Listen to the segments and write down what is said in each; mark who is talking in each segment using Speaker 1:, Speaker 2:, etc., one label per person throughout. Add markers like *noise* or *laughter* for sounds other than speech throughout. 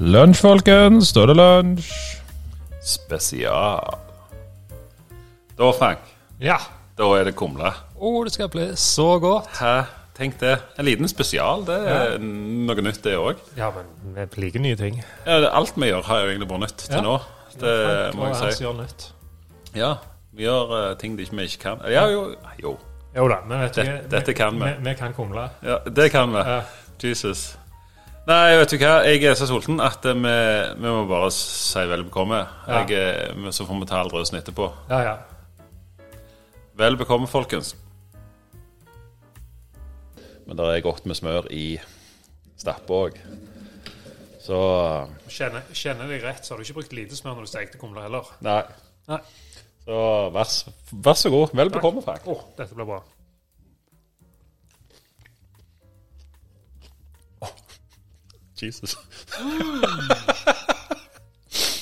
Speaker 1: Lunsj, folkens! Da er det lunsj.
Speaker 2: Spesial. Da, Frank,
Speaker 3: Ja.
Speaker 2: da er det kumle.
Speaker 3: Å, Oh, det skal bli så godt.
Speaker 2: Hæ? Tenk det. En liten spesial. Det er noe nytt, det òg.
Speaker 3: Ja, men vi liker nye ting.
Speaker 2: Alt vi gjør, har jo egentlig vært nytt til
Speaker 3: Ja.
Speaker 2: nå. Det må
Speaker 3: Hva er det
Speaker 2: jeg
Speaker 3: som
Speaker 2: si.
Speaker 3: gjør nytt?
Speaker 2: Ja, vi gjør eh, ting de ikke vi ikke kan. Ja, jo. jo.
Speaker 3: Jo da, men vet du
Speaker 2: Det-
Speaker 3: hva?
Speaker 2: dette kan vi.
Speaker 3: vi. Vi kan kumle.
Speaker 2: Ja, det kan vi.
Speaker 3: Ja.
Speaker 2: Jesus. Nei, vet du hva. Jeg er så sulten at eh, vi, vi må bare si vel bekomme.
Speaker 3: Ja.
Speaker 2: Jeg, eh, så får vi ta all drøsen etterpå.
Speaker 3: Ja, ja.
Speaker 2: Vel bekomme, folkens. Men det er godt med smør i stappe òg. Så
Speaker 3: Kjenner, kjenner deg rett, så har du ikke brukt lite smør når du stekte kumle heller.
Speaker 2: Nei.
Speaker 3: Nei.
Speaker 2: Så vær, s- vær så god. Vel bekomme, Frank.
Speaker 3: Å, dette blir bra.
Speaker 2: Jesus.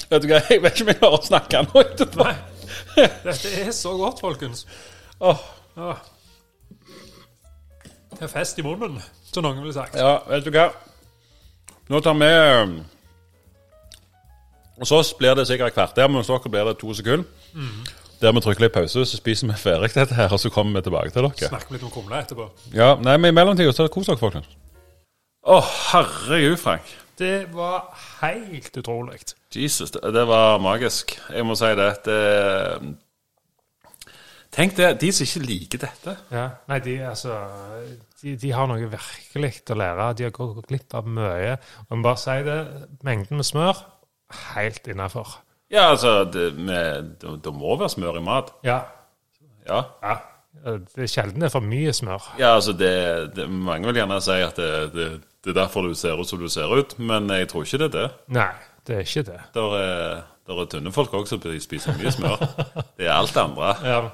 Speaker 2: vet du hva, jeg vet ikke om jeg klarer å snakke nå etterpå.
Speaker 3: *laughs* Dette er så godt, folkens.
Speaker 2: Åh,
Speaker 3: Ja. Det er fest i munnen, som noen ville sagt.
Speaker 2: ja, vet du hva. Nå tar vi eh, Og så blir det sikkert et kvarter, men hos dere blir det to sekunder. Der vi trykker litt pause, så spiser vi ferdig dette her, og så kommer vi tilbake til dere.
Speaker 3: Snakker vi litt om kumle etterpå.
Speaker 2: Ja, nei, men i mellomtida så kos dere, folkens. Å, herregud, Frank.
Speaker 3: Det var helt utrolig.
Speaker 2: Jesus, det, det var magisk. Jeg må si det. det Tenk det, de som ikke liker dette.
Speaker 3: Ja. Nei, de, altså, de, de har noe virkelig å lære. De har gått glipp av mye. Og jeg må bare si det, mengden med smør, helt innafor.
Speaker 2: Ja, altså, det, med, det, det må være smør i mat.
Speaker 3: Ja.
Speaker 2: Ja,
Speaker 3: ja. Det er sjelden det er for mye smør.
Speaker 2: ja altså, det, det Mange vil gjerne si at det, det, det er derfor du ser ut som du ser ut, men jeg tror ikke det er det.
Speaker 3: Nei, det er ikke det.
Speaker 2: Der er, der er tynne folk også som spiser mye smør. Det er alt det andre.
Speaker 3: Ja,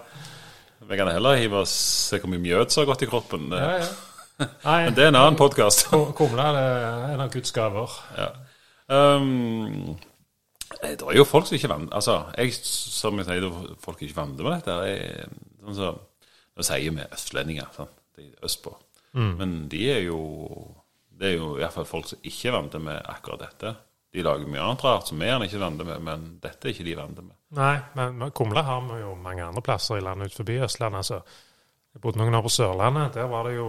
Speaker 2: Vi kan heller hive oss se hvor mye mjød som har gått i kroppen.
Speaker 3: ja. ja. Nei,
Speaker 2: Men det er en annen podkast.
Speaker 3: ku- kumle det er en av Guds gaver.
Speaker 2: Um, det er jo folk som ikke vandrer Altså, jeg, som jeg sier, det er folk som ikke vandrer med dette. her. Jeg, sånn så, nå sier vi østlendinger, sant? de er østpå. Men de er jo Det er jo i hvert fall folk som ikke vandrer med akkurat dette. De lager mye annet rart som vi gjerne ikke vandrer med, men dette er ikke de vandrer med.
Speaker 3: Nei, men men kumle har vi jo mange andre plasser i landet ut forbi Østlandet. Altså. Jeg bodde noen år på Sørlandet. Der var det jo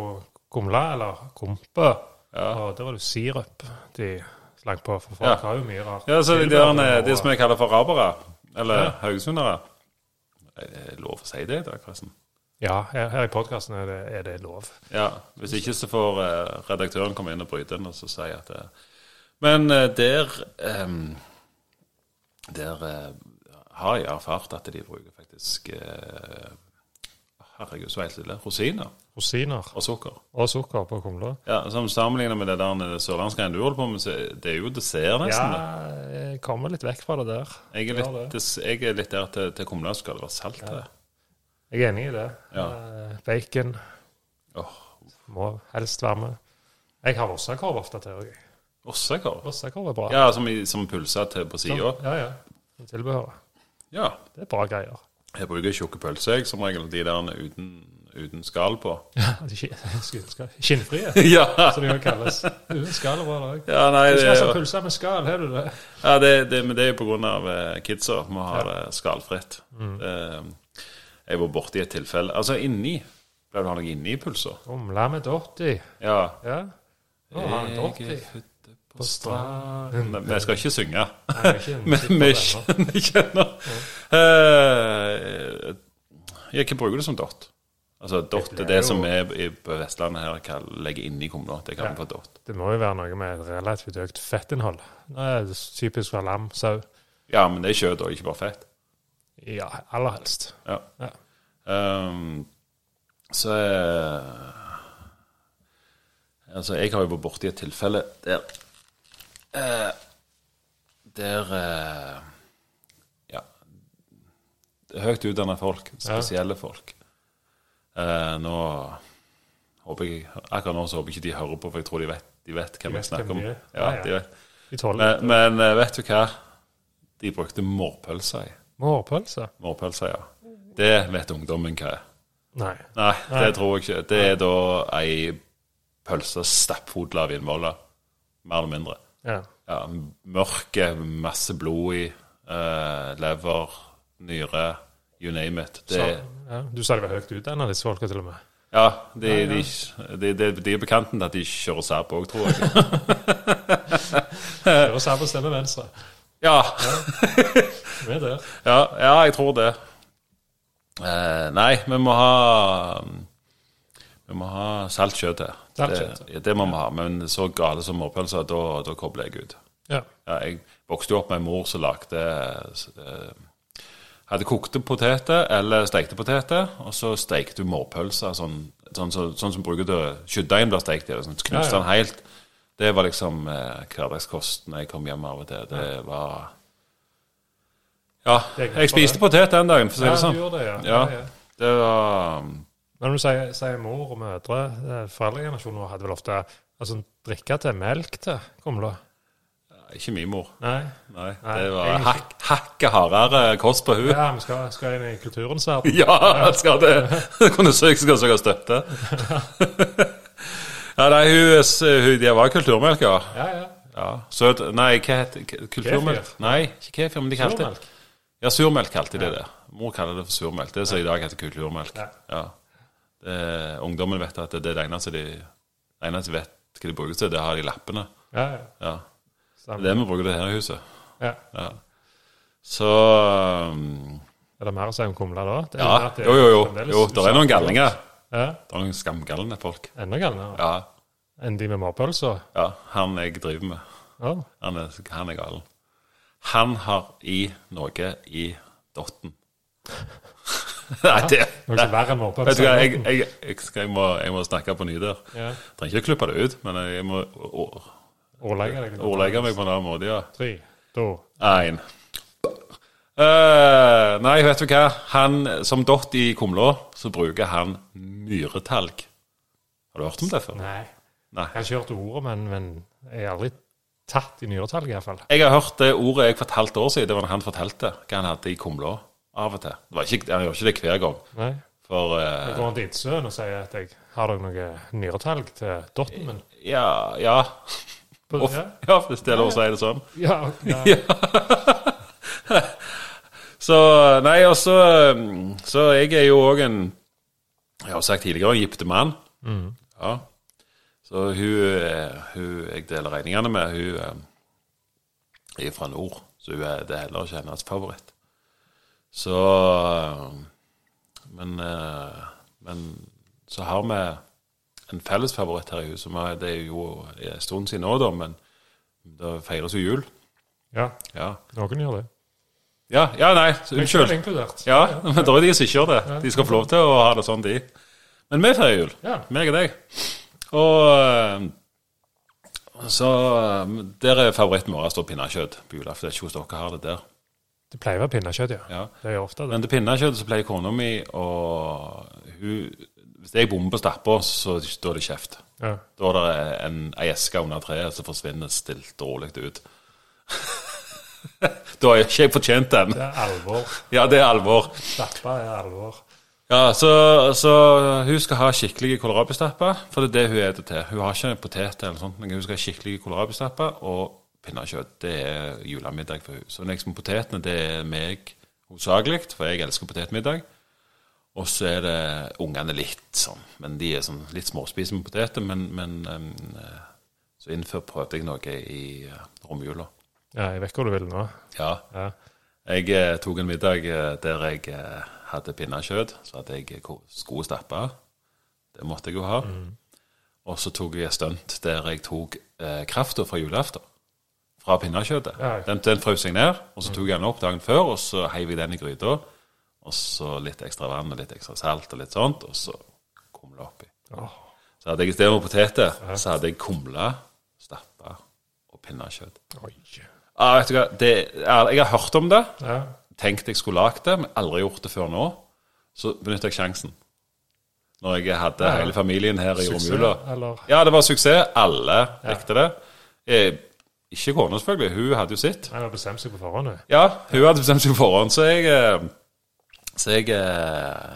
Speaker 3: kumle, eller kompe. Og der var det jo sirup de slang på, for folk
Speaker 2: Ja.
Speaker 3: har jo mye rart.
Speaker 2: Ja, så de, der,
Speaker 3: Tilbehør og-
Speaker 2: de som jeg kaller for rabere, eller haugesundere Er det lov å si det i dag, forresten?
Speaker 3: Ja, her, her i podkasten er, det- er det lov.
Speaker 2: Ja, Hvis ikke så får eh, redaktøren komme inn og bryte den og så si at eh, Men eh, der em, Der eh, har jeg erfart at de bruker faktisk eh, Herregud, så helt stille. Rosiner
Speaker 3: Rosiner
Speaker 2: og sukker.
Speaker 3: og sukker på kumle.
Speaker 2: Ja, som Sammenlignet med det der sørlandsgreiene du holder på med, så det er jo dessert, nesten. det.
Speaker 3: Ja, jeg kommer litt vekk fra det der.
Speaker 2: Jeg er
Speaker 3: Ja,
Speaker 2: litt,
Speaker 3: det.
Speaker 2: des- jeg er litt der til, til kumla skal det være salt til det.
Speaker 3: Jeg er enig i det.
Speaker 2: Ja.
Speaker 3: Eh, Bacon
Speaker 2: Åh,
Speaker 3: må helst være med. Jeg har ossekorv ofte til òg.
Speaker 2: Ossekorv?
Speaker 3: Ossekorv er bra.
Speaker 2: Ja, som, i- som pulser til på sida.
Speaker 3: ja. ja. Som Tilbehør.
Speaker 2: Ja.
Speaker 3: Det er bra greier.
Speaker 2: Jeg bruker tjukke pølser, jeg, som regel. De der uten, uten skal på.
Speaker 3: De Altså, skin- skin- skal- Skinnfrie,
Speaker 2: ja.
Speaker 3: som de også kalles. Uten skall og bra lag.
Speaker 2: ja, nei,
Speaker 3: Du
Speaker 2: det,
Speaker 3: skal ha sånn
Speaker 2: er-
Speaker 3: pølser med skall, har du det?
Speaker 2: ja, det, det, men det er jo på grunn av eh, kidsa. Vi har det skallfritt.
Speaker 3: Mm.
Speaker 2: Eh, jeg var borti et tilfelle Altså inni. Pleier du å ha noe inni pølsa?
Speaker 3: Humle med dotti.
Speaker 2: Ja.
Speaker 3: Ja. Å, har en dotti.
Speaker 2: på stranden Men jeg skal ikke synge.
Speaker 3: Nei,
Speaker 2: *laughs*
Speaker 3: *laughs* jeg er ikke-
Speaker 2: Men
Speaker 3: ikke
Speaker 2: vi
Speaker 3: på
Speaker 2: kjenner, kjenner. Eh, ja, Hva bruker du som dott? Altså dott er det som vi i- på Vestlandet her kaller- legger inni kumla. Det kaller vi for dott.
Speaker 3: Det må jo være noe med et relativt høyt fettinnhold. Nå er det typisk for lam, sau.
Speaker 2: Ja, men det er kjøtt og ikke bare fett.
Speaker 3: Ja, aller helst.
Speaker 2: Ja.
Speaker 3: Ja.
Speaker 2: Ehm, så eh, Altså, jeg har jo vært borti et tilfelle der eh, Der eh, Ja. det er Høyt utdanna folk. Spesielle folk. Eh, nå håper jeg Akkurat nå så håper jeg ikke de hører på, for jeg tror de vet, de vet hva vi
Speaker 3: vet hvem
Speaker 2: snakker om.
Speaker 3: de er.
Speaker 2: Ja,
Speaker 3: Ja, ja.
Speaker 2: de vet.
Speaker 3: De tåler
Speaker 2: Men, men eh, vet du hva? De brukte mårpølse i.
Speaker 3: Mårpølse?
Speaker 2: Mårpølse, ja. Det vet ungdommen hva er.
Speaker 3: Nei.
Speaker 2: Nei, det tror jeg ikke. Det er da ei pølse stappfodla av innvoller. Mer eller mindre.
Speaker 3: Ja.
Speaker 2: ja, mørke, masse blod i, eh, lever, nyre, you name it. Det,
Speaker 3: Så, ja. Du sa de var høyt utdanna, disse folka, til og med.
Speaker 2: ja, de, De, de, de, de er på kanten til at de kjører Saab òg, tror jeg.
Speaker 3: Hører samme stemme venstre.
Speaker 2: Ja,
Speaker 3: Vi er der.
Speaker 2: ja, ja jeg tror det. Eh, nei, vi må ha Vi må ha salt kjøtt til.
Speaker 3: Salt
Speaker 2: Det,
Speaker 3: kjøtt.
Speaker 2: ja, det må vi ha. Men så gale som morrpølser, da, da kobler jeg ut.
Speaker 3: Ja.
Speaker 2: Ja, jeg vokste jo opp med en mor som lagde eh, Hadde kokte poteter eller stekte poteter, og så stekte hun morrpølser. Sånn, sånn, som- sånn som bruker til Kjøttdeigen blir stekt i det. Sånn, knuste
Speaker 3: Ja, ja.
Speaker 2: den helt. Det var liksom eh, hverdagskosten når jeg kom hjem av og til. Det var Ja,
Speaker 3: Det er
Speaker 2: jeg
Speaker 3: godt for deg.
Speaker 2: spiste potet den dagen, for å si
Speaker 3: Ja,
Speaker 2: det
Speaker 3: du
Speaker 2: sånn.
Speaker 3: gjorde det, ja.
Speaker 2: Ja,
Speaker 3: Ja, ja.
Speaker 2: det var mm,
Speaker 3: Men når du sier, sier mor og mødre, eh, foreldregenerasjonen vår hadde vel ofte altså, drikke til melk til kumla?
Speaker 2: Ikke min mor.
Speaker 3: Nei?
Speaker 2: Nei,
Speaker 3: Nei,
Speaker 2: det var
Speaker 3: egentlig
Speaker 2: hak, hakket hardere kost på henne.
Speaker 3: Ja, vi skal, skal inn i kulturens verden.
Speaker 2: *laughs* Ja, jeg skal det. *laughs* Jeg kunne søke, skal søke støtte. *laughs* Ja, nei, hun, hun de eh, var kulturmelk, ja.
Speaker 3: Ja, ja.
Speaker 2: ja. Søt Nei, hva heter k- Kulturmelk?
Speaker 3: Kefir.
Speaker 2: Nei, ikke kefir, men de kalte det
Speaker 3: Surmelk.
Speaker 2: Ja, surmelk kalte de det. Mor kaller det for surmelk. Det som i dag heter kulturmelk.
Speaker 3: Ja.
Speaker 2: Ja. Det, ungdommen vet at det er det eneste de, det eneste de vet hva de bruker til, det har de i lappene.
Speaker 3: Ja, ja.
Speaker 2: Ja. Det
Speaker 3: Stemmer.
Speaker 2: er det vi bruker det her i huset.
Speaker 3: ja.
Speaker 2: Ja. Så um,
Speaker 3: Er det mer å si om kumla da? Det er mer
Speaker 2: Ja.
Speaker 3: at det er
Speaker 2: Jo, jo, jo.
Speaker 3: fremdeles
Speaker 2: jo det er noen galninger.
Speaker 3: Ja,
Speaker 2: Det er noen skamgalne folk.
Speaker 3: Enda galnere
Speaker 2: Ja,
Speaker 3: enn de med matpølser.
Speaker 2: ja, han jeg driver med.
Speaker 3: Ja.
Speaker 2: Han er, han er galen. Han har i noe i dotten. *laughs* Nei, det
Speaker 3: Det er ikke verre enn matpølser.
Speaker 2: Vet du hva, jeg, jeg, jeg, skal, jeg, må, jeg må snakke på ny der.
Speaker 3: Ja.
Speaker 2: Trenger ikke å klippe det ut, men jeg må å-
Speaker 3: Ordlegger deg. litt.
Speaker 2: ordlegge meg på en annen måte, ja.
Speaker 3: Tre, to.
Speaker 2: Én. Eh, nei, vet du hva. Han, som dott i kumla, så bruker han myretalg. Har du hørt om det før?
Speaker 3: Nei.
Speaker 2: Nei.
Speaker 3: Jeg har ikke hørt ordet, men, men jeg har aldri tatt i nyretallet i hvert fall.
Speaker 2: Jeg har hørt det ordet jeg for et halvt år siden. Det var når han fortalte hva han hadde i kumla av og til. Det var ikke, han gjør ikke det hver gang.
Speaker 3: Nei.
Speaker 2: For
Speaker 3: Jeg
Speaker 2: eh,
Speaker 3: går til Idsøen og sier at jeg har dere noe nyretalg til dotten min.
Speaker 2: ja, ja.
Speaker 3: På-
Speaker 2: Of, *laughs* ja, hvis det er lov å si det sånn.
Speaker 3: Ja, ja.
Speaker 2: Så nei, og så mm, Så jeg er jo òg en Jeg har sagt tidligere en gift mann. Ja. Så hun, eh, hun jeg deler regningene med, hun eh, er fra nord. Så hun er, det er heller ikke hennes favoritt. Så eh, Men, eh, men så har vi en felles favoritt her i huset. Vi har- Det er jo en stund siden nå, da, men det feires jo jul.
Speaker 3: ja.
Speaker 2: Ja,
Speaker 3: Noen gjør det.
Speaker 2: ja, ja nei, så unnskyld.
Speaker 3: Inkludert.
Speaker 2: Ja, men da er de som ikke gjør det. De skal få lov til å ha det sånn, de. Men vi feirer jul.
Speaker 3: Ja.
Speaker 2: Meg og deg. Og eh, så eh, Der er favoritten vår står pinnekjøtt på julaften. Det er ikke hvordan dere har det der.
Speaker 3: Det pleier å være pinnekjøtt, ja.
Speaker 2: Ja.
Speaker 3: Det gjør ofte det.
Speaker 2: Men til pinnekjøtt så pleier kona mi å hun- Hvis jeg bommer på stappa, så da er det kjeft.
Speaker 3: Ja.
Speaker 2: Da er det en, ei eske under treet som forsvinner stilt og rolig ut. *laughs* da har ikke jeg fortjent den.
Speaker 3: Det er alvor.
Speaker 2: Ja, det er alvor.
Speaker 3: Stappa er alvor.
Speaker 2: Ja, så, så hun skal ha skikkelige kålrabistapper, for det er det hun er det til. Hun har ikke potet eller sånt, men hun skal ha skikkelige kålrabistapper og pinnekjøtt. Det er julemiddag for hun. Så liksom potetene, det er meg hovedsakelig, for jeg elsker potetmiddag. Og så er det ungene litt sånn, men de er sånn litt småspise med poteter, men, men em, eh, så innfør prøvde jeg noe i eh, romjula.
Speaker 3: Ja, jeg vet hvor du vil nå.
Speaker 2: Ja,
Speaker 3: Ja.
Speaker 2: jeg eh, tok en middag eh, der jeg eh, hadde pinnekjøtt. Så hadde jeg eh, ko- gode stapper. Det måtte jeg jo ha. Og så tok jeg et stunt der jeg tok eh, krafta fra julaften. Fra pinnekjøttet.
Speaker 3: Ja, ja.
Speaker 2: Den, den frøs jeg ned, og så tok jeg den opp dagen før, og så heiv jeg den i gryta. Og så litt ekstra vann og litt ekstra salt og litt sånt, og så kumla oppi.
Speaker 3: Åh.
Speaker 2: Så hadde jeg istedenfor poteter, så hadde jeg kumle, stapper og pinnekjøtt.
Speaker 3: Oi.
Speaker 2: Ah, vet du hva? Det, jeg har hørt om det
Speaker 3: Ja.
Speaker 2: tenkt jeg skulle lagd det, men aldri gjort det før nå, så benytter jeg sjansen. Når jeg hadde
Speaker 3: Ja.
Speaker 2: hele familien her i
Speaker 3: Suksess,
Speaker 2: romjula.
Speaker 3: eller?
Speaker 2: Ja, det var suksess. Alle likte det. Eh, ikke kona, selvfølgelig. Hun hadde jo sitt.
Speaker 3: Jeg har bestemt seg på forhånd, du.
Speaker 2: Ja, hun hadde bestemt seg på forhånd, så jeg eh, Så jeg eh,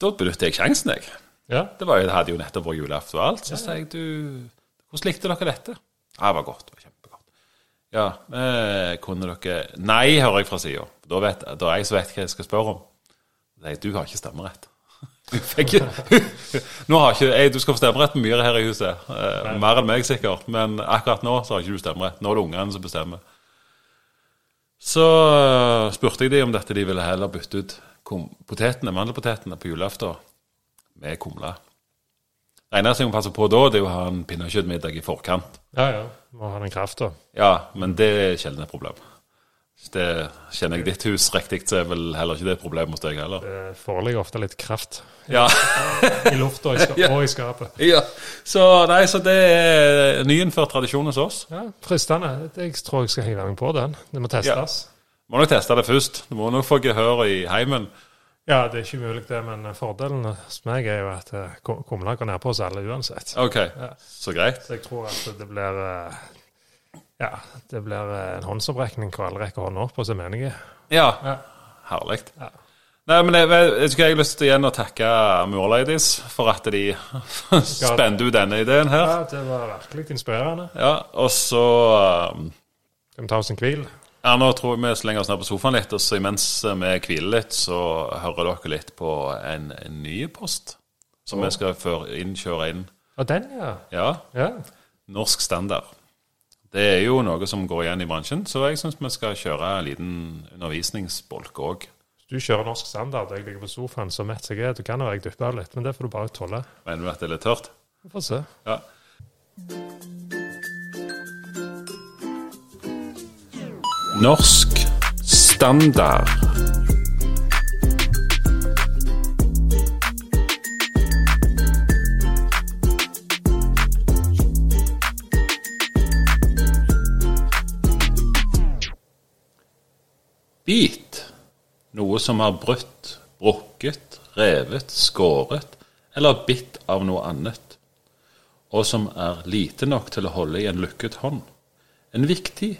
Speaker 2: Da benytter jeg sjansen, jeg.
Speaker 3: Ja.
Speaker 2: Det var, jo- det hadde jo nettopp vært julaften og alt. Så sa jeg, du Hvordan likte dere dette? Ja, det var godt. Det var kjempegodt. Ja, eh, kunne dere Nei, hører jeg fra sida. Da, vet- da er jeg som vet hva jeg skal spørre om. Nei, du har ikke stemmerett. *laughs* Du fikk *laughs* Nå har ikke jeg, Du skal få stemmerett på mye her i huset. Eh, mer enn meg, sikkert. Men akkurat nå så har ikke du stemmerett. Nå er det ungene som bestemmer. Så eh, spurte jeg de om dette de ville heller bytte ut kom- potetene, mandelpotetene på julaften med kumle. Det eneste jeg må passe på da, det er jo å ha en pinnekjøttmiddag i forkant.
Speaker 3: Ja, ja. Må ha den krafta.
Speaker 2: Ja, men det er sjelden et problem. Hvis Det kjenner jeg ditt hus riktig, så er vel heller ikke det et problem hos deg heller.
Speaker 3: Det foreligger ofte litt kraft *laughs*
Speaker 2: Ja,
Speaker 3: i lufta og i *laughs* ska- og i skapet.
Speaker 2: ja. Så, nei, så det er nyinnført tradisjon hos oss.
Speaker 3: Ja, Fristende. Jeg tror jeg skal hive meg på den. Det må testes.
Speaker 2: Må nok teste det først. Du må nok få gehør i heimen.
Speaker 3: Ja, det er ikke mulig det, men fordelen hos meg er jo at eh, ku- kumla går ned på oss alle uansett.
Speaker 2: OK, så greit.
Speaker 3: Så jeg tror at det blir eh, Ja, det blir eh, en håndsopprekning hvor alle rekker hånda opp, og så er menige.
Speaker 2: Ja,
Speaker 3: Ja.
Speaker 2: herlig.
Speaker 3: Ja.
Speaker 2: Nei, men jeg, jeg, jeg, jeg har lyst til igjen å takke Murladies for at de *laughs* spente ut denne ideen her.
Speaker 3: Ja, det var virkelig inspirerende.
Speaker 2: Ja, og så um,
Speaker 3: Skal vi ta oss en hvil?
Speaker 2: ja, Nå tror jeg vi slenger oss ned på sofaen litt, og så imens vi hviler litt, så hører dere litt på en, en ny post som vi skal før, inn, kjøre inn.
Speaker 3: Og den, ja.
Speaker 2: Ja,
Speaker 3: ja.
Speaker 2: norsk standard. Det er jo noe som går igjen i bransjen, så jeg syns vi skal kjøre en liten undervisningsbolk òg.
Speaker 3: Hvis du kjører norsk standard, og jeg ligger på sofaen så mett jeg er, du kan jo være jeg dupper av litt, men det får du bare tåle.
Speaker 2: Mener du at det er litt tørt?
Speaker 3: Vi får se.
Speaker 2: Ja. Norsk standard. Bit. Noe som har brutt, brukket, revet, skåret eller bitt av noe annet og som er lite nok til å holde i en lukket hånd. En viktig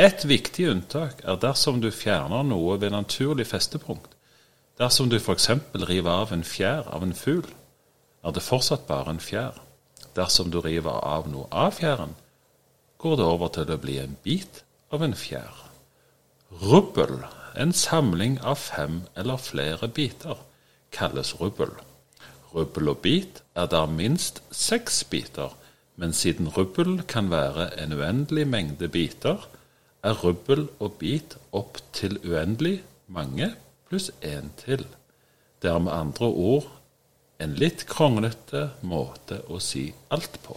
Speaker 2: Et viktig unntak er dersom du fjerner noe ved naturlig festepunkt. Dersom du f.eks. river av en fjær av en fugl, er det fortsatt bare en fjær. Dersom du river av noe av fjæren, går det over til å bli en bit av en fjær. Rubbel, en samling av fem eller flere biter, kalles rubbel. Rubbel og bit er der minst seks biter, men siden rubbel kan være en uendelig mengde biter, er rubbel og bit opp til uendelig mange pluss én til. Det er med andre ord en litt kronglete måte å si alt på.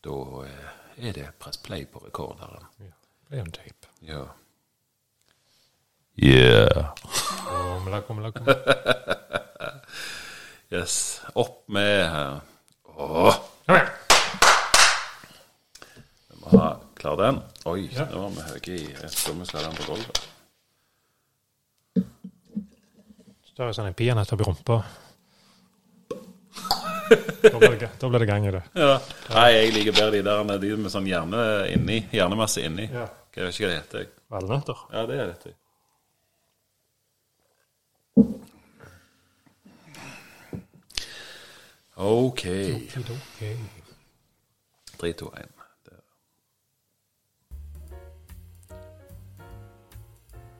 Speaker 2: Da eh, er det press play på rekorderen.
Speaker 3: Ja, det er jo en tape.
Speaker 2: Ja. Yeah.
Speaker 3: Kumla, kumla, kumla.
Speaker 2: Yes. Opp med eh, Åh,
Speaker 3: Kom igjen.
Speaker 2: vi må ha klar den. Oi, nå var vi høye i eh, trommeslageren på gulvet.
Speaker 3: Så er det sånn en peanøtt oppi rumpa. *laughs* Da blir det ga- da blir det gang i det.
Speaker 2: Ja. Nei, jeg liker bedre de der de med sånn hjerne inni, hjernemasse inni.
Speaker 3: Ja.
Speaker 2: Jeg vet ikke hva det heter. jeg.
Speaker 3: Valnøtter.
Speaker 2: Ja, det er det. OK.
Speaker 3: Okay.
Speaker 2: 3, 2, 1. Der.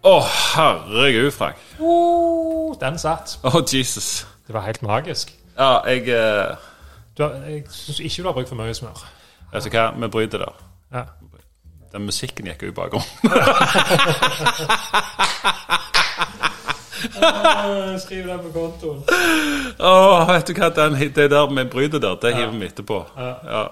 Speaker 2: Å, herregud, Frank.
Speaker 3: Oh, den satt.
Speaker 2: Å, Jesus.
Speaker 3: Det var helt magisk.
Speaker 2: Ja, jeg eh,
Speaker 3: Du har, jeg syns ikke du har brukt for mye smør.
Speaker 2: Vet du hva, vi bryter der.
Speaker 3: Ja.
Speaker 2: Den musikken gikk jo i bakgrunnen.
Speaker 3: Skriv det på kontoen.
Speaker 2: Å, vet du hva, den, det der vi bryter der, det hiver vi etterpå. Ja.